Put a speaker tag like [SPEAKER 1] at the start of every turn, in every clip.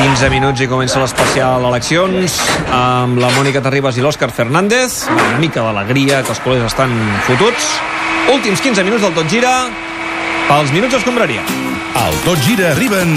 [SPEAKER 1] 15 minuts i comença l'especial eleccions amb la Mònica Terribas i l'Òscar Fernández. Una mica d'alegria, que els col·legs estan fotuts. Últims 15 minuts del Tot Gira. Pels minuts escombraria.
[SPEAKER 2] Al Tot Gira arriben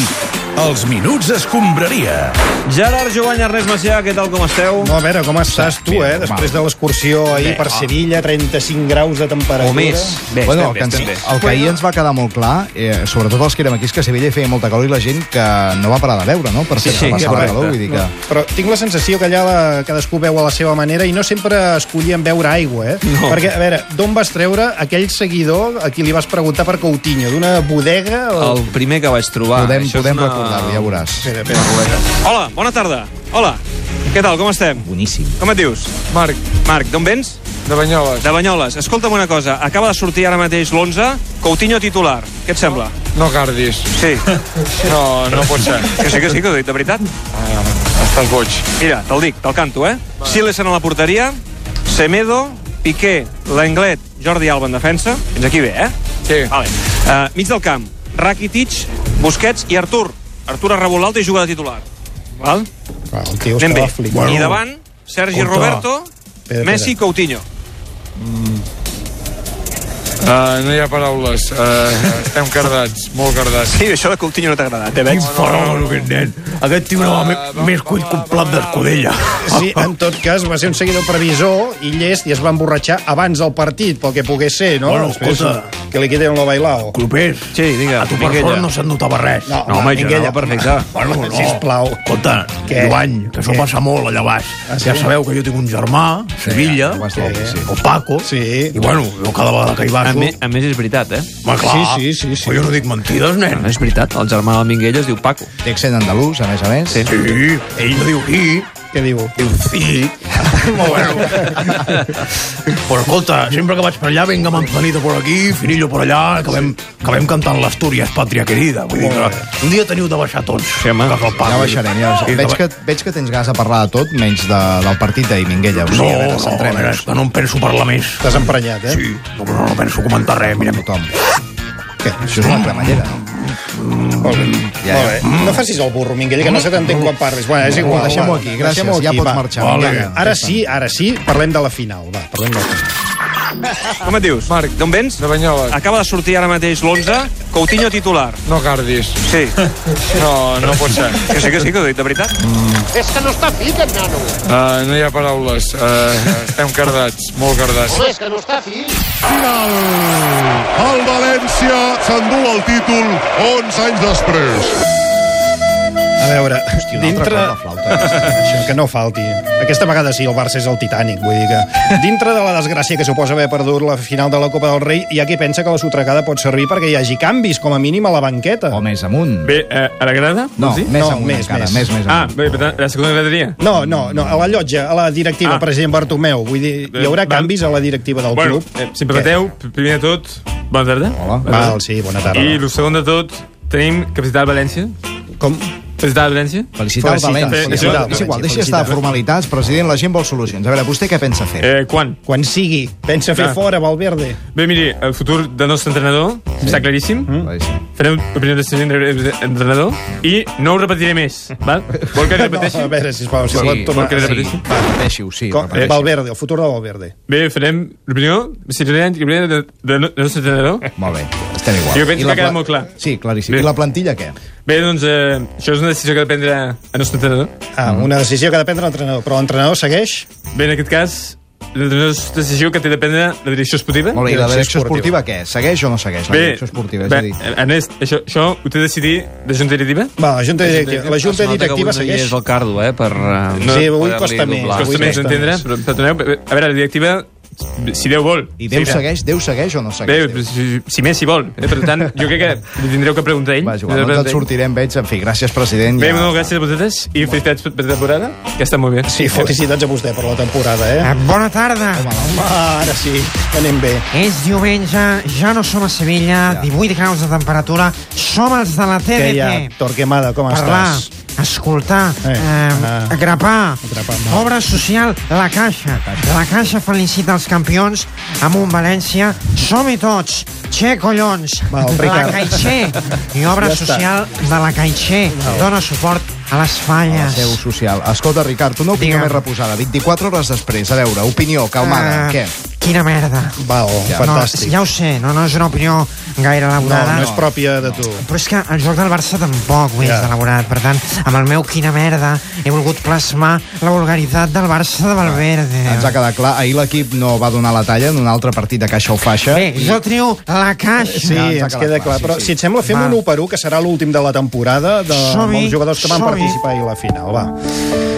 [SPEAKER 2] els Minuts Escombraria.
[SPEAKER 1] Gerard Joan i Ernest Macià, què tal, com esteu?
[SPEAKER 3] No, a veure, com estàs tu, eh? Després de l'excursió ahir
[SPEAKER 1] Bé,
[SPEAKER 3] per
[SPEAKER 1] ah.
[SPEAKER 3] Sevilla, 35 graus de temperatura.
[SPEAKER 1] O més. Bé,
[SPEAKER 4] bueno,
[SPEAKER 1] estem bé,
[SPEAKER 4] que ens,
[SPEAKER 1] estem bé.
[SPEAKER 4] el que ahir ens va quedar molt clar, eh, sobretot els que érem aquí, és que a Sevilla hi feia molta calor i la gent que no va parar de veure, no? Per
[SPEAKER 1] Sí,
[SPEAKER 4] sí,
[SPEAKER 1] sí,
[SPEAKER 4] sí, passar la
[SPEAKER 1] correcte.
[SPEAKER 4] calor, vull dir que... No.
[SPEAKER 3] Però tinc la sensació que allà la, cadascú veu a la seva manera i no sempre escollien beure aigua, eh?
[SPEAKER 1] No.
[SPEAKER 3] Perquè, a veure, d'on vas treure aquell seguidor a qui li vas preguntar per Coutinho? D'una bodega? O...
[SPEAKER 1] El primer que vaig trobar.
[SPEAKER 4] Podem,
[SPEAKER 1] Això és
[SPEAKER 4] podem
[SPEAKER 1] una-
[SPEAKER 4] una... recordar-ho, ja veuràs.
[SPEAKER 3] Espera, espera, bodega.
[SPEAKER 1] Hola, bona tarda. Hola. Què tal, com estem?
[SPEAKER 5] Boníssim.
[SPEAKER 1] Com et dius?
[SPEAKER 6] Marc,
[SPEAKER 1] Marc, d'on vens?
[SPEAKER 6] de Banyoles.
[SPEAKER 1] De Banyoles. Escolta'm una cosa, acaba de sortir ara mateix l'11, Coutinho titular. Què et sembla?
[SPEAKER 6] No cardis.
[SPEAKER 1] Sí,
[SPEAKER 6] No, no pot ser.
[SPEAKER 1] que sí, que sí, que ho he dit, de veritat.
[SPEAKER 6] Estàs boig.
[SPEAKER 1] Mira, te'l dic, te'l canto, eh? Silesen a la porteria, Semedo, Piqué, l'Englet, Jordi Alba en defensa. Fins aquí bé, eh?
[SPEAKER 6] Sí.
[SPEAKER 1] Vale. Uh, mig del camp, Rakitic, Busquets i Artur. Artur Arrebolalta i juga de titular. Val?
[SPEAKER 3] Ah, El tio
[SPEAKER 1] Anem bé.
[SPEAKER 3] estava flipant.
[SPEAKER 1] I davant, Sergi
[SPEAKER 3] Compte.
[SPEAKER 1] Roberto,
[SPEAKER 3] espera.
[SPEAKER 1] Messi i Coutinho.
[SPEAKER 6] Uh, no hi ha paraules. Uh, estem cardats, molt cardats.
[SPEAKER 1] Sí, això de Coutinho no t'ha agradat, eh,
[SPEAKER 5] Quin fenòmen, aquest nen. Aquest tio anava me- més cuit que un plat d'escudella.
[SPEAKER 3] Sí, en tot cas, va ser un seguidor previsor i llest i es va emborratxar abans del partit, pel que pogués ser, no?
[SPEAKER 5] Bueno,
[SPEAKER 3] Després,
[SPEAKER 5] escolta.
[SPEAKER 3] Que li quiten lo bailao.
[SPEAKER 5] Ah, Clopers,
[SPEAKER 1] Sí, digue,
[SPEAKER 5] a tu per
[SPEAKER 1] Minguella.
[SPEAKER 5] sort no se'n notava res.
[SPEAKER 3] No,
[SPEAKER 1] No, home, jo
[SPEAKER 3] Minguella.
[SPEAKER 1] anava perfecte.
[SPEAKER 5] Bueno, no.
[SPEAKER 3] Sisplau.
[SPEAKER 5] Escolta,
[SPEAKER 3] Què?
[SPEAKER 5] Joan, que això
[SPEAKER 3] Què?
[SPEAKER 5] passa molt allà baix.
[SPEAKER 3] Ah, sí?
[SPEAKER 5] Ja sabeu que jo tinc un germà, a Sevilla,
[SPEAKER 4] ho has dit, sí.
[SPEAKER 5] el Paco,
[SPEAKER 3] Sí.
[SPEAKER 5] i bueno, jo cada vegada que hi
[SPEAKER 1] A,
[SPEAKER 5] baixo...
[SPEAKER 1] me, a més, és veritat, eh?
[SPEAKER 5] Home, clar,
[SPEAKER 3] Sí, sí, sí, sí.
[SPEAKER 5] però jo no dic mentides, nen.
[SPEAKER 1] És veritat, el germà del Minguella es diu Paco.
[SPEAKER 4] Té accent andalús, a més a més.
[SPEAKER 1] Sí.
[SPEAKER 5] Sí, ell no diu i,
[SPEAKER 3] Què diu?
[SPEAKER 5] diu sí. Però bueno. Però escolta, sempre que vaig per allà, venga Manzanito por aquí, Finillo por allà, acabem, acabem cantant l'Astúries, Pàtria querida. Vull dir que un dia teniu de baixar tots.
[SPEAKER 1] Sí, home.
[SPEAKER 5] Que el Paco-
[SPEAKER 4] Ja baixarem, ja
[SPEAKER 5] Sí,
[SPEAKER 4] baixarem. Veig que, veig que tens ganes de parlar de tot, menys de, del partit d'ahir, Minguella. O
[SPEAKER 5] No,
[SPEAKER 4] sigui, a veure,
[SPEAKER 5] no,
[SPEAKER 4] centrem-nos.
[SPEAKER 5] mira, és que no em penso parlar més.
[SPEAKER 3] T'has emprenyat, eh?
[SPEAKER 5] Sí, no, no, no penso comentar res, mira.
[SPEAKER 4] Tothom. Què? Això és una cremallera, no?
[SPEAKER 3] Molt bé.
[SPEAKER 4] Ja,
[SPEAKER 3] Molt bé. No facis el burro, Minguell, que no se t'entén quan parlis. Bueno, és igual.
[SPEAKER 4] Bueno, deixem-ho
[SPEAKER 3] va.
[SPEAKER 4] aquí, gràcies.
[SPEAKER 3] Deixem-ho
[SPEAKER 4] Ja pots marxar,
[SPEAKER 3] Vale.
[SPEAKER 4] Minguella.
[SPEAKER 3] Ara sí, ara sí, parlem de la final. Va, parlem de la final.
[SPEAKER 1] Com et dius?
[SPEAKER 6] Marc,
[SPEAKER 1] d'on vens?
[SPEAKER 6] De Banyoles.
[SPEAKER 1] Acaba de sortir ara mateix l'11, Coutinho titular.
[SPEAKER 6] No cardis.
[SPEAKER 1] Sí,
[SPEAKER 6] No, no pot ser.
[SPEAKER 1] que sí, que sí, que ho he dit, de veritat.
[SPEAKER 6] Uh, no hi ha paraules. Uh, estem cardats, molt cardats.
[SPEAKER 7] El València s'endú el títol 11 anys després.
[SPEAKER 3] A veure,
[SPEAKER 4] un altre
[SPEAKER 3] dintre...
[SPEAKER 4] cop la flauta,
[SPEAKER 3] Això, que no falti. Aquesta vegada sí, el Barça és el Titanic, vull dir que... Dintre de la desgràcia que suposa haver perdut la final de la Copa del Rei, hi ha qui pensa que la sotregada pot servir perquè hi hagi canvis, com a mínim, a la banqueta.
[SPEAKER 4] O més amunt.
[SPEAKER 8] Bé, eh, a la grada?
[SPEAKER 4] No,
[SPEAKER 8] vols dir?
[SPEAKER 4] més
[SPEAKER 3] No,
[SPEAKER 4] amunt
[SPEAKER 3] més,
[SPEAKER 4] encara,
[SPEAKER 3] més.
[SPEAKER 4] més, més
[SPEAKER 8] Ah,
[SPEAKER 4] amunt.
[SPEAKER 8] bé, per tant, la segona graderia.
[SPEAKER 3] No, no, no, a la llotja, a la directiva,
[SPEAKER 8] Ah.
[SPEAKER 3] president Bartomeu. Vull dir, hi haurà
[SPEAKER 8] Eh, val.
[SPEAKER 3] canvis a la directiva del
[SPEAKER 8] Bueno,
[SPEAKER 3] club.
[SPEAKER 8] eh, si em permeteu, primer de tot, bona tarda.
[SPEAKER 4] Hola.
[SPEAKER 3] Val, sí, bona tarda.
[SPEAKER 8] I el segon de tot, tenim que visitar València.
[SPEAKER 3] Com?
[SPEAKER 8] Visitar València?
[SPEAKER 4] Felicitar el
[SPEAKER 3] Felicitar.
[SPEAKER 4] València.
[SPEAKER 8] Eh, això-
[SPEAKER 4] és igual, deixi estar
[SPEAKER 3] felicitar.
[SPEAKER 4] de formalitats, president, la gent vol solucions. A veure, vostè què pensa fer?
[SPEAKER 8] Eh, quan?
[SPEAKER 3] Quan sigui. Pensa fer
[SPEAKER 8] Ah.
[SPEAKER 3] fora, Valverde.
[SPEAKER 8] Bé, miri, el futur del nostre entrenador està claríssim.
[SPEAKER 4] Mm?
[SPEAKER 8] Farem opinió del següent entrenador i no ho repetiré més, val? Vol que repeteixi?
[SPEAKER 3] No, a veure, sisplau, si sí,
[SPEAKER 8] vol que
[SPEAKER 3] tornar...
[SPEAKER 8] repeteixi?
[SPEAKER 4] Va, repeteixi-ho, sí,
[SPEAKER 3] Com, eh,
[SPEAKER 8] eh?
[SPEAKER 4] repeteixi.
[SPEAKER 3] Valverde, el futur de Valverde.
[SPEAKER 8] Bé, farem l'opinió, si realment de, de, de, del nostre entrenador.
[SPEAKER 4] Molt bé, estem igual.
[SPEAKER 8] Jo penso
[SPEAKER 4] I
[SPEAKER 8] que
[SPEAKER 4] la
[SPEAKER 8] ha quedat
[SPEAKER 4] pla-
[SPEAKER 8] molt clar.
[SPEAKER 4] Sí, claríssim.
[SPEAKER 8] Bé.
[SPEAKER 4] I la plantilla, què?
[SPEAKER 8] Bé, doncs, eh, això és una decisió que ha de prendre el nostre entrenador.
[SPEAKER 3] Ah, una decisió que ha de prendre l'entrenador, però l'entrenador segueix?
[SPEAKER 8] Bé, en aquest cas, l'entrenador és una decisió que té de prendre la direcció esportiva.
[SPEAKER 4] Molt bé, i la direcció
[SPEAKER 3] Direcció
[SPEAKER 4] esportiva, què? Segueix o no segueix la direcció esportiva? És a dir,
[SPEAKER 8] bé, eh, Ernest, això, això ho té de decidir de Junta Directiva?
[SPEAKER 3] Va, la junta directiva, la junta directiva
[SPEAKER 1] avui no hi
[SPEAKER 3] segueix.
[SPEAKER 1] és el Cardo, eh, per... eh,
[SPEAKER 3] Sí, avui
[SPEAKER 1] poder-li
[SPEAKER 3] costa més,
[SPEAKER 4] Ah,
[SPEAKER 1] doblar.
[SPEAKER 3] avui
[SPEAKER 8] Costa més
[SPEAKER 3] costa
[SPEAKER 8] d'entendre, però perdoneu, a veure, la directiva, si Déu vol...
[SPEAKER 4] I Déu
[SPEAKER 8] seguirà.
[SPEAKER 4] segueix, Déu segueix o no
[SPEAKER 8] Bé,
[SPEAKER 4] segueix? Déu?
[SPEAKER 8] si, si més si vol. Eh? Per tant, jo crec que li tindreu que preguntar a ell.
[SPEAKER 4] Va,
[SPEAKER 8] Li
[SPEAKER 4] igual,
[SPEAKER 8] tindreu que
[SPEAKER 4] doncs et
[SPEAKER 8] preguntar a ell.
[SPEAKER 4] sortirem, veig. En fi, gràcies, president.
[SPEAKER 8] Bé, no, gràcies a vosaltres i felicitats per per temporada, que està molt bé.
[SPEAKER 3] Sí, felicitats a vostè per la temporada, eh?
[SPEAKER 9] Bona tarda.
[SPEAKER 4] Ah,
[SPEAKER 3] Home, ara sí, anem bé.
[SPEAKER 9] És diumenge, ja no som a Sevilla, 18 graus de temperatura, som els de la
[SPEAKER 3] Què hi ha?
[SPEAKER 9] TDT.
[SPEAKER 3] Torquemada, com
[SPEAKER 9] Parlar,
[SPEAKER 3] estàs?
[SPEAKER 9] escoltar,
[SPEAKER 3] Eh,
[SPEAKER 9] eh,
[SPEAKER 3] anar.
[SPEAKER 9] eh, grapar,
[SPEAKER 3] Grapar, no.
[SPEAKER 9] obra social, la Caixa. La Caixa felicita els campions amb un València. Som-hi tots, Caixer, collons!
[SPEAKER 3] Va, el
[SPEAKER 9] la
[SPEAKER 3] Ricard.
[SPEAKER 9] Caixer! I obra
[SPEAKER 3] Ja
[SPEAKER 9] ja
[SPEAKER 3] està.
[SPEAKER 9] social de la Caixer. Dona suport a les
[SPEAKER 4] La
[SPEAKER 9] falles.
[SPEAKER 4] seu social. Escolta, Ricard, una opinió
[SPEAKER 9] Digue'm.
[SPEAKER 4] més reposada. 24 hores després, a veure, opinió, calmada,
[SPEAKER 9] Ah,
[SPEAKER 4] què?
[SPEAKER 9] Quina merda.
[SPEAKER 3] Val, ja, fantàstic.
[SPEAKER 9] No, ja ho sé, no, no és una opinió gaire
[SPEAKER 3] No,
[SPEAKER 9] elaborada.
[SPEAKER 3] no és pròpia de tu.
[SPEAKER 9] Però és que el joc del Barça tampoc ho és
[SPEAKER 3] Ja.
[SPEAKER 9] elaborat. Per tant, amb el meu quina merda he volgut plasmar la vulgaritat del Barça de Valverde.
[SPEAKER 3] Ah,
[SPEAKER 4] Ens ha quedat clar, ahir l'equip no va donar la talla en un altre partit de caixa o faixa.
[SPEAKER 9] Bé, jo trio la caixa.
[SPEAKER 3] Sí,
[SPEAKER 4] Ja, ens ha
[SPEAKER 3] ens
[SPEAKER 4] quedat
[SPEAKER 3] queda clar.
[SPEAKER 4] clar, sí,
[SPEAKER 3] Però
[SPEAKER 4] sí.
[SPEAKER 3] si et sembla, fem
[SPEAKER 9] Va.
[SPEAKER 3] un 1 per 1, que serà l'últim de la temporada de, amb
[SPEAKER 9] Som-hi,
[SPEAKER 3] els jugadors que van
[SPEAKER 9] som-hi.
[SPEAKER 3] participar ahir a la final. Va.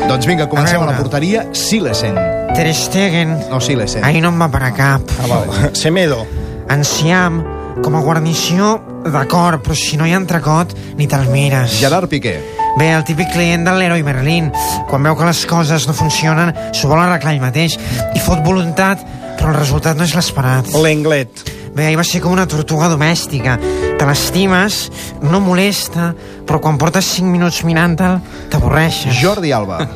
[SPEAKER 4] Doncs vinga, comencem a,
[SPEAKER 9] A
[SPEAKER 4] la
[SPEAKER 9] veure.
[SPEAKER 4] porteria. Silesen.
[SPEAKER 9] Ter Stegen.
[SPEAKER 4] No, Silesen.
[SPEAKER 9] Ahir no em va parar cap.
[SPEAKER 3] Ah, val. Semedo.
[SPEAKER 9] Enciam, com a guarnició, d'acord, però si no hi ha entrecot, ni te'l mires.
[SPEAKER 4] Gerard Piqué.
[SPEAKER 9] Bé, el típic client del Leroy Merlin, quan veu que les coses no funcionen, s'ho vol arreglar ell mateix i fot voluntat, però el resultat no és l'esperat.
[SPEAKER 3] L'Englet.
[SPEAKER 9] Bé, ahir va ser com una tortuga domèstica. Te l'estimes, no molesta, però quan portes 5 minuts mirant-te'l, t'avorreixes.
[SPEAKER 4] Jordi Alba.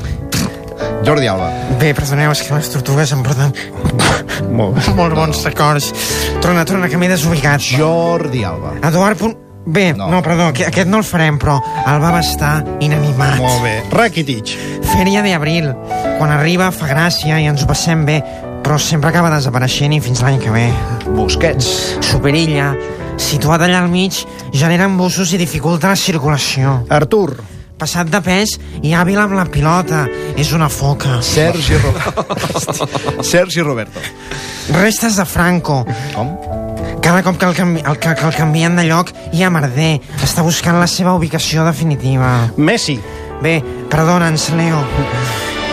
[SPEAKER 4] Jordi Alba.
[SPEAKER 9] Bé, perdoneu, és que les tortugues em porten
[SPEAKER 3] Molt bé.
[SPEAKER 9] molt bons records. Trona, trona, que m'he desubicat.
[SPEAKER 4] Jordi Alba.
[SPEAKER 9] Eduard Punt... Bé,
[SPEAKER 4] No.
[SPEAKER 9] no. no, perdó, aqu- aquest no el farem, però el va estar inanimat.
[SPEAKER 3] Molt bé. Rakitic.
[SPEAKER 9] Fèria d'abril. Quan arriba fa gràcia i ens ho passem bé, però sempre acaba desapareixent i fins l'any que ve.
[SPEAKER 4] Busquets.
[SPEAKER 9] Superilla, situat allà al mig, genera embussos i dificulta la circulació.
[SPEAKER 3] Artur.
[SPEAKER 9] Passat de pes i hàbil amb la pilota. És una foca.
[SPEAKER 4] Sergi, Ro... Sergi Roberto.
[SPEAKER 9] Restes de Franco.
[SPEAKER 4] Com?
[SPEAKER 9] Cada cop que el, canvi, el, que, que el canvien de lloc hi ha merder. Està buscant la seva ubicació definitiva.
[SPEAKER 3] Messi.
[SPEAKER 9] Bé, perdona'ns, Leo.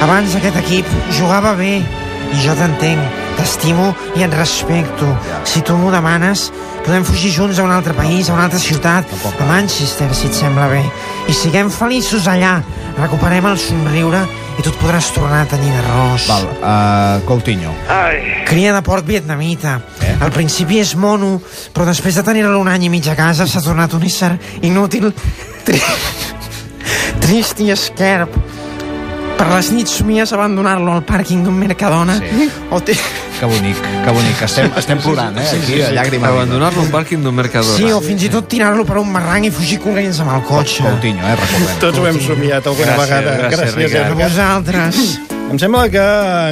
[SPEAKER 9] Abans aquest equip jugava bé i jo t'entenc, t'estimo i et respecto. Si tu m'ho demanes, podem fugir junts a un altre país, a una altra ciutat, a Manchester, si et sembla bé. I siguem feliços allà, recuperem el somriure i tu et podràs tornar a tenir d'arròs.
[SPEAKER 4] Val, uh, Coutinho.
[SPEAKER 3] Ah.
[SPEAKER 9] Cria de porc vietnamita. Eh? Al principi és mono, però després de tenir-lo un any i mig a casa s'ha tornat un ésser inútil, tri... trist i esquerp. Per les nits somies abandonar-lo al pàrquing d'un Mercadona. Sí. O té...
[SPEAKER 4] Que bonic, que bonic. Estem, estem plorant, eh? Aquí, a llàgrima.
[SPEAKER 1] Abandonar-lo a un pàrquing d'un mercador.
[SPEAKER 9] sí, o fins i tot tirar-lo per un barranc i fugir corrents amb el cotxe.
[SPEAKER 4] Coutinho, eh? Recordem.
[SPEAKER 3] Tots ho hem somiat alguna
[SPEAKER 1] Gràcies,
[SPEAKER 3] vegada.
[SPEAKER 1] gràcies,
[SPEAKER 9] Per
[SPEAKER 1] Ricard.
[SPEAKER 3] Ricard.
[SPEAKER 9] vosaltres.
[SPEAKER 3] Em sembla que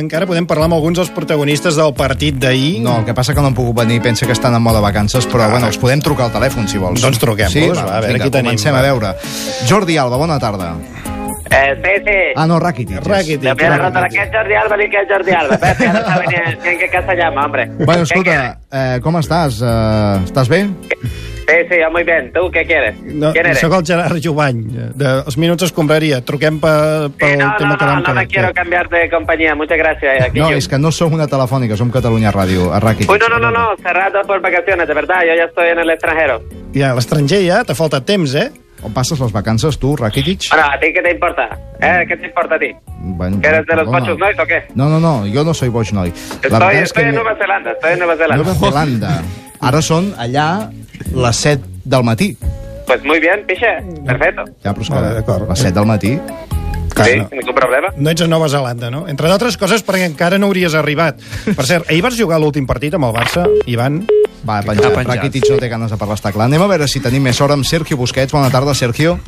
[SPEAKER 3] encara podem parlar amb alguns dels protagonistes del partit d'ahir.
[SPEAKER 4] No, el que passa que no han pogut venir, pensa que estan en moda vacances, però bueno, els podem trucar al telèfon, si vols.
[SPEAKER 3] Doncs truquem-los, va, a veure
[SPEAKER 4] vinga,
[SPEAKER 3] qui tenim,
[SPEAKER 4] Comencem
[SPEAKER 3] va.
[SPEAKER 4] a veure. Jordi Alba, bona tarda.
[SPEAKER 10] Eh, Pepe,
[SPEAKER 4] Ah, no, Rakitic. és.
[SPEAKER 3] Rakitic.
[SPEAKER 10] la primera ronda, ¿qué es Jordi Alba? ¿Qué es Jordi Alba? Pepe, ahora está bien, bien que casa llama, hombre.
[SPEAKER 4] Bueno,
[SPEAKER 10] ¿Qué
[SPEAKER 4] escolta, eh, com estàs? Eh, estàs bé?
[SPEAKER 10] quieres? Sí, sí, yo muy bien. ¿Tú qué quieres?
[SPEAKER 3] No,
[SPEAKER 10] ¿Quién eres?
[SPEAKER 3] soc el Gerard Jovany, dels Minuts Escombraria. Truquem per,
[SPEAKER 10] Sí,
[SPEAKER 3] pel
[SPEAKER 10] no,
[SPEAKER 3] tema
[SPEAKER 10] no,
[SPEAKER 3] que
[SPEAKER 10] no,
[SPEAKER 3] vam
[SPEAKER 10] no
[SPEAKER 3] quedar.
[SPEAKER 10] me quiero cambiar de compañía. Muchas gracias. Aquí
[SPEAKER 4] No,
[SPEAKER 10] yo.
[SPEAKER 4] és que no som una telefònica, som Catalunya Ràdio, a Rakitic.
[SPEAKER 10] Uy, no, no, no, no, cerrado por vacaciones, de verdad. Yo ya estoy en el extranjero.
[SPEAKER 3] Ja, a l'estranger ja, t'ha faltat temps, eh?
[SPEAKER 4] On passes les vacances, tu, Rakitic?
[SPEAKER 10] Bueno, ¿a ti qué te importa? ¿Eh? ¿Qué te importa a ti?
[SPEAKER 4] Bueno,
[SPEAKER 10] ¿Que eres de los
[SPEAKER 4] perdona.
[SPEAKER 10] pochos nois o qué?
[SPEAKER 4] No, no, no, jo no soy boig noi.
[SPEAKER 10] Estoy, estoy en
[SPEAKER 4] mi-
[SPEAKER 10] Nueva Zelanda, estoy en Nueva Zelanda.
[SPEAKER 4] Nova Zelanda. Ara són allà les 7 del matí.
[SPEAKER 10] Pues muy bien, piche, perfecto.
[SPEAKER 4] Ja, però és
[SPEAKER 3] Vale,
[SPEAKER 4] que
[SPEAKER 3] d'acord.
[SPEAKER 4] les 7 del matí...
[SPEAKER 10] Sí,
[SPEAKER 3] Clar, no.
[SPEAKER 10] ningún problema.
[SPEAKER 3] No ets a Nova Zelanda, no? Entre d'altres coses perquè encara no hauries arribat. Per cert, ahir vas jugar l'últim partit amb el Barça, Ivan.
[SPEAKER 4] Va, penjat.
[SPEAKER 1] Ha penjat.
[SPEAKER 4] Rakitic no té ganes de parlar, està clar. Anem a veure si tenim més hora amb Sergio Busquets. Bona tarda, Sergio.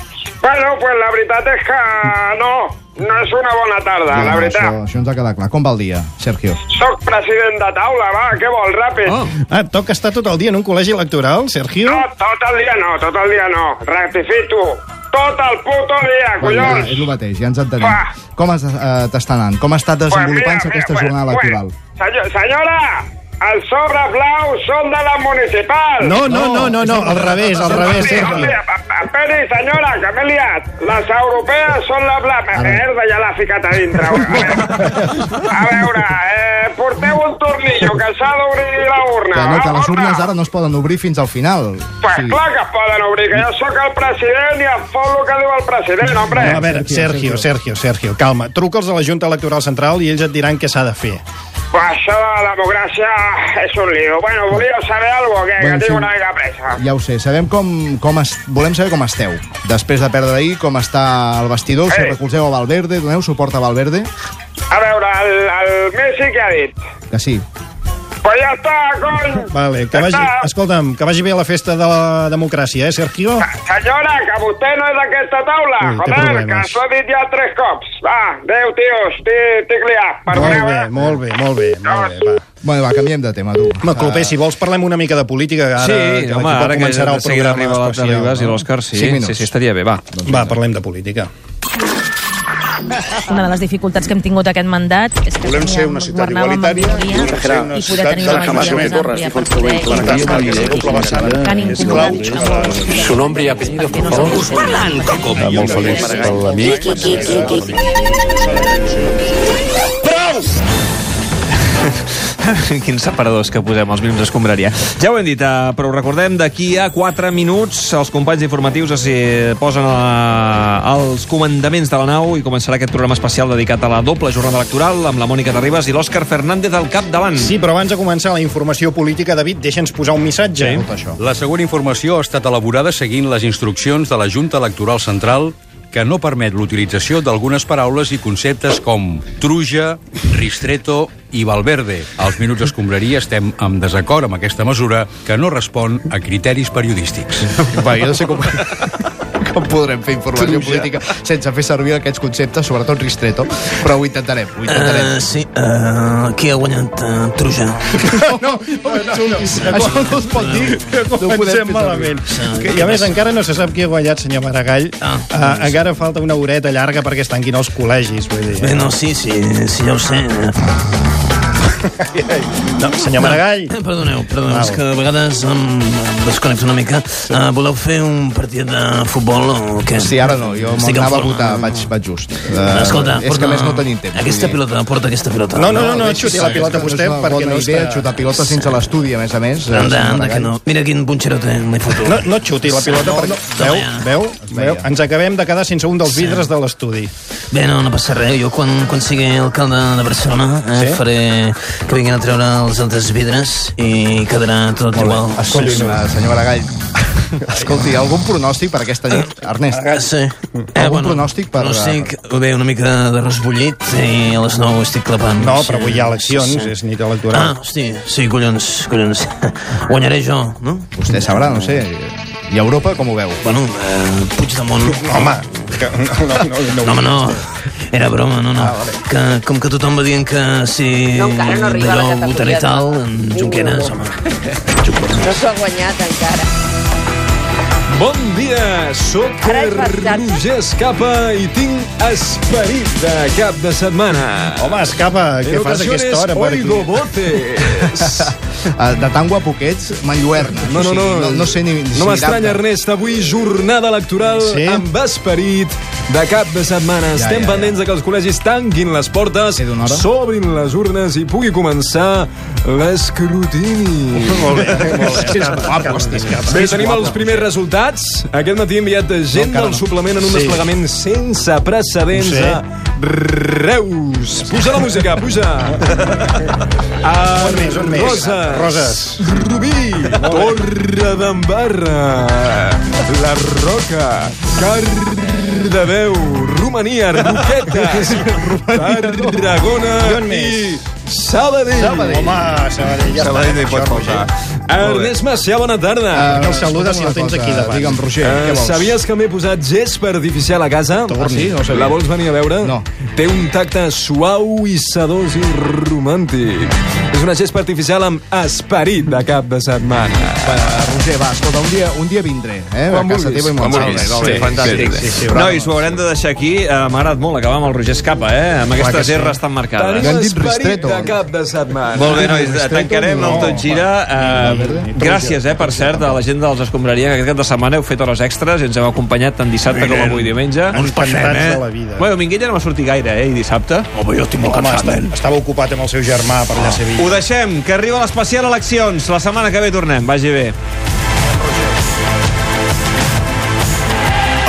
[SPEAKER 10] Bueno, pues la verdad es que ah, no, no es una buena tarde,
[SPEAKER 4] No, Això, això ens ha quedat clar. Com va el dia, Sergio?
[SPEAKER 10] Soc president de taula, va, què vol, ràpid?
[SPEAKER 1] Oh.
[SPEAKER 3] Ah, et toca estar tot el dia en un col·legi electoral, Sergio?
[SPEAKER 10] No, tot el dia no, tot el dia no. Rectifico. Tot el puto dia,
[SPEAKER 4] Bueno,
[SPEAKER 10] collons! Ah.
[SPEAKER 4] és el mateix, ja ens entenem.
[SPEAKER 10] Va.
[SPEAKER 4] Com has- eh, t'està anant? Com ha estat desenvolupant-se aquesta jornada electoral?
[SPEAKER 10] Senyor, senyora, els sobres blaus són de la municipal.
[SPEAKER 3] No, no, no, no, no, al revés, al revés,
[SPEAKER 10] Sí,
[SPEAKER 3] Sergio.
[SPEAKER 10] hòstia, pa- pa- esperi, senyora, que m'he liat. Les europees són la blama. Merda, ja l'ha ficat a dintre. A veure, a veure eh, porteu un tornillo, que s'ha d'obrir la urna.
[SPEAKER 4] Que no,
[SPEAKER 10] va,
[SPEAKER 4] que les
[SPEAKER 10] urna.
[SPEAKER 4] urnes ara no es poden obrir fins al final.
[SPEAKER 10] Pues clar que es poden obrir, que jo sóc el president i em fot el que diu el president,
[SPEAKER 3] No,
[SPEAKER 10] hombre.
[SPEAKER 3] a veure, Sergio, Sergio, Sergio, calma. Truca'ls a la Junta Electoral Central i ells et diran què s'ha de fer.
[SPEAKER 10] Pues això de la democràcia és un lío. Bueno, volíeu saber alguna cosa, que,
[SPEAKER 4] Bueno,
[SPEAKER 10] que
[SPEAKER 4] sí.
[SPEAKER 10] tinc una mica pressa.
[SPEAKER 4] Ja ho sé, sabem com, com es, volem saber com esteu. Després de perdre ahir, com està el vestidor, si
[SPEAKER 10] Ei.
[SPEAKER 4] recolzeu a Valverde, doneu suport a Valverde,
[SPEAKER 10] A veure, el, el Messi què ha dit?
[SPEAKER 4] que sí.
[SPEAKER 10] Pues ja està, cony.
[SPEAKER 3] Vale, que vagi,
[SPEAKER 10] Està.
[SPEAKER 3] escolta'm, que vagi bé la festa de la democràcia, eh, Sergio?
[SPEAKER 10] Senyora, que vostè no és d'aquesta taula.
[SPEAKER 3] Ui, té
[SPEAKER 10] Joder, que
[SPEAKER 3] problemes.
[SPEAKER 10] s'ho he dit ja tres cops. Va, adéu, tios, estic estic liat.
[SPEAKER 3] Molt
[SPEAKER 10] Perdoneu,
[SPEAKER 3] bé,
[SPEAKER 10] eh?
[SPEAKER 3] molt bé, molt bé, molt bé, va. Ah.
[SPEAKER 4] Bueno, va, canviem de tema, tu.
[SPEAKER 3] Home, Clopé, si vols parlem una mica de política, que ara,
[SPEAKER 1] sí,
[SPEAKER 3] que
[SPEAKER 1] home,
[SPEAKER 3] l'equip
[SPEAKER 1] ara que
[SPEAKER 3] començarà
[SPEAKER 1] de
[SPEAKER 3] el programa
[SPEAKER 1] seguida arriba l'altre
[SPEAKER 3] especial,
[SPEAKER 1] Ribas i
[SPEAKER 3] no?
[SPEAKER 1] l'Òscar, sí,
[SPEAKER 3] Cinc
[SPEAKER 1] sí,
[SPEAKER 3] minuts.
[SPEAKER 1] sí, estaria bé, va.
[SPEAKER 3] Va, parlem de política.
[SPEAKER 11] Una de les dificultats que hem tingut aquest mandat és que
[SPEAKER 12] Volem ser una ciutat igualitària i volem ser una ciutat de la que más me corras, dijo el joven Plantasma, que de doble vessant
[SPEAKER 3] Eh,
[SPEAKER 12] és clau. Su nombre i apellido, por favor. Us parlen, Coco. Molt feliç per l'amic.
[SPEAKER 1] Prou! Quins separadors que posem als minuts escombraria. Ja ho hem dit, eh, però ho recordem, d'aquí a 4 minuts els companys informatius es eh, posen a, als comandaments de la nau i començarà aquest programa especial dedicat a la doble jornada electoral amb la Mònica Terribas i l'Òscar Fernández al capdavant.
[SPEAKER 3] Sí, però abans de començar la informació política, David, deixa'ns posar un missatge. Sí. Tot això.
[SPEAKER 13] La següent informació ha estat elaborada seguint les instruccions de la Junta Electoral Central que no permet l'utilització d'algunes paraules i conceptes com truja, ristreto i Valverde. Als minuts escombraria estem amb desacord amb aquesta mesura que no respon a criteris periodístics.
[SPEAKER 4] Va, jo no sé com... com podrem fer informació
[SPEAKER 13] Truja.
[SPEAKER 4] política sense fer servir aquests conceptes, sobretot ristreto, però ho intentarem, ho intentarem.
[SPEAKER 14] Uh, sí, uh, qui ha guanyat uh, Truja?
[SPEAKER 4] no, no, no, no. Això no es pot dir. No ho podem
[SPEAKER 3] Comencem
[SPEAKER 4] fer
[SPEAKER 3] malament.
[SPEAKER 4] servir.
[SPEAKER 3] Que, I a més, encara no se sap qui ha guanyat, senyor Maragall. Ah, ah, encara falta una horeta llarga perquè es tanquin els col·legis, vull dir.
[SPEAKER 14] Bé, Eh, no, sí, sí, sí, ja ho sé.
[SPEAKER 3] No, senyor Maragall.
[SPEAKER 14] Eh, Perdoneu, perdoneu,
[SPEAKER 3] Au.
[SPEAKER 14] és que a vegades em em desconnecto una mica. Uh, voleu fer un partit de futbol o què?
[SPEAKER 4] Sí, ara no, jo
[SPEAKER 14] Estic en
[SPEAKER 4] m'anava a
[SPEAKER 14] forma.
[SPEAKER 4] votar, vaig, vaig just.
[SPEAKER 14] Eh, Escolta,
[SPEAKER 4] és que a més no tenim temps.
[SPEAKER 14] Aquesta
[SPEAKER 4] vull dir.
[SPEAKER 14] pilota, porta aquesta pilota.
[SPEAKER 4] No, no, no, no, xuti la pilota vostè perquè no està... xutar pilota sense l'estudi, a més a més.
[SPEAKER 14] Anda, anda, que no. Mira quin punxero té, m'he fotut.
[SPEAKER 3] No, no xuti la pilota
[SPEAKER 14] No,
[SPEAKER 3] perquè...
[SPEAKER 14] no,
[SPEAKER 3] Veu,
[SPEAKER 14] no,
[SPEAKER 3] veu, veu? Ens acabem de quedar sense un dels vidres de l'estudi.
[SPEAKER 14] Bé, no, no passa res. Jo quan, quan sigui alcalde de Barcelona eh,
[SPEAKER 3] Sí?
[SPEAKER 14] sí? faré que vinguin a treure els altres vidres i quedarà tot
[SPEAKER 4] Molt bé.
[SPEAKER 14] igual.
[SPEAKER 4] Escolti, senyor Maragall, Escolti, algun pronòstic per aquesta nit, Ernest?
[SPEAKER 14] Ah, Sí. Eh,
[SPEAKER 4] Algun pronòstic per... eh,
[SPEAKER 14] Pronòstic, bé, una mica d'arròs bullit i a les 9 estic clapant.
[SPEAKER 3] No, però avui hi ha eleccions, és nit electoral.
[SPEAKER 14] Ah, hosti, sí, collons, collons. Guanyaré jo, no?
[SPEAKER 4] Vostè sabrà, no sé. I Europa com ho veu?
[SPEAKER 14] Bueno, eh, Puigdemont...
[SPEAKER 3] Home, que, no, no, no,
[SPEAKER 14] no, home, no. Era broma, no, no. Ah, vale. que, com que tothom va dient que si...
[SPEAKER 15] No, encara no arriba la
[SPEAKER 14] d'allò
[SPEAKER 15] categoria
[SPEAKER 14] votaré
[SPEAKER 15] de-
[SPEAKER 14] tal, en Junqueras, home.
[SPEAKER 15] No s'ho ha guanyat encara.
[SPEAKER 16] Bon dia, sóc Roger Escapa i tinc esperit de cap de setmana.
[SPEAKER 3] Home, Escapa,
[SPEAKER 4] què fas a aquesta hora per aquí?
[SPEAKER 16] Oigo botes.
[SPEAKER 4] Eh, De tan guapo que ets, m'enlluerna.
[SPEAKER 16] No, no, no.
[SPEAKER 4] no, no sé ni...
[SPEAKER 16] No m'estranya, Ernest, avui jornada electoral
[SPEAKER 4] Sí?
[SPEAKER 16] sí? amb esperit de cap de setmana. Ja, Estem ja, pendents de que els col·legis tanquin les portes,
[SPEAKER 3] eh?
[SPEAKER 16] s'obrin les urnes i pugui començar l'escrutini.
[SPEAKER 3] Molt bé, molt bé.
[SPEAKER 16] És guapo,
[SPEAKER 3] hosti, escapa.
[SPEAKER 16] Bé,
[SPEAKER 3] És
[SPEAKER 16] tenim
[SPEAKER 3] guapo.
[SPEAKER 16] els primers resultats. Aquest matí he enviat gent
[SPEAKER 3] encara
[SPEAKER 16] del
[SPEAKER 3] no.
[SPEAKER 16] suplement en un
[SPEAKER 3] Sí.
[SPEAKER 16] desplegament sense precedents
[SPEAKER 3] Sí.
[SPEAKER 16] a Reus. Puja la música, puja.
[SPEAKER 3] Un més, un més.
[SPEAKER 16] Roses.
[SPEAKER 3] Roses.
[SPEAKER 16] Rubí, Torre d'Embarra, La Roca, Cardedeu, Romania, Roquetes, Tarragona i Sabadell.
[SPEAKER 3] Sabadell. Home, Ah, Sabadell ja
[SPEAKER 16] Sabadell
[SPEAKER 3] està.
[SPEAKER 16] no hi pot faltar. Ernest Macià, bona tarda.
[SPEAKER 4] Eh,
[SPEAKER 3] Ah, que el saluda si el tens aquí davant.
[SPEAKER 4] Digue'm, Roger,
[SPEAKER 16] Eh,
[SPEAKER 4] què vols?
[SPEAKER 16] Sabies que m'he posat gespa artificial a casa?
[SPEAKER 4] Ah, sí? No ho sabia.
[SPEAKER 16] La vols venir a veure? No. Té un tacte suau i sedós i romàntic. És una gespa artificial amb esperit de cap de setmana.
[SPEAKER 4] Roger, va, escolta, un dia, un dia vindré, eh?
[SPEAKER 16] Quan
[SPEAKER 4] a casa
[SPEAKER 16] vulguis,
[SPEAKER 4] teva i
[SPEAKER 16] quan
[SPEAKER 4] m'ho
[SPEAKER 16] vulguis.
[SPEAKER 4] salves.
[SPEAKER 16] Sí, fantàstic.
[SPEAKER 4] Sí, sí, sí, bravo.
[SPEAKER 1] Nois, ho haurem de deixar aquí. Eh, M'ha agradat molt acabar amb el Roger Escapa, eh? Amb
[SPEAKER 16] Clar que
[SPEAKER 1] aquestes
[SPEAKER 16] sí.
[SPEAKER 1] erres tan marcades.
[SPEAKER 16] Tenim esperit
[SPEAKER 4] eh.
[SPEAKER 16] de cap de setmana.
[SPEAKER 1] Molt bé, nois, tancarem el Tot Gira. Eh, gràcies, eh, per cert, a la gent dels Escombraria, que aquest cap de setmana heu fet hores extres i ens heu acompanyat tant dissabte com avui diumenge.
[SPEAKER 3] Ens passem, Encantats eh? de la vida.
[SPEAKER 1] Bueno, Minguella no va sortir gaire, eh, i dissabte.
[SPEAKER 5] Home, jo estic molt
[SPEAKER 3] Home,
[SPEAKER 14] eh?
[SPEAKER 3] estava, estava ocupat amb el seu germà per allà a Sevilla.
[SPEAKER 1] Ho deixem, que arriba l'especial eleccions. La setmana que ve tornem. Vagi bé.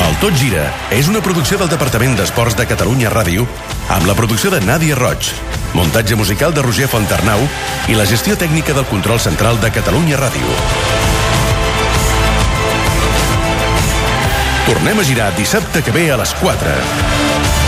[SPEAKER 2] El Tot Gira és una producció del Departament d'Esports de Catalunya Ràdio amb la producció de Nàdia Roig, muntatge musical de Roger Fontarnau i la gestió tècnica del control central de Catalunya Ràdio. Tornem a girar dissabte que ve a les 4.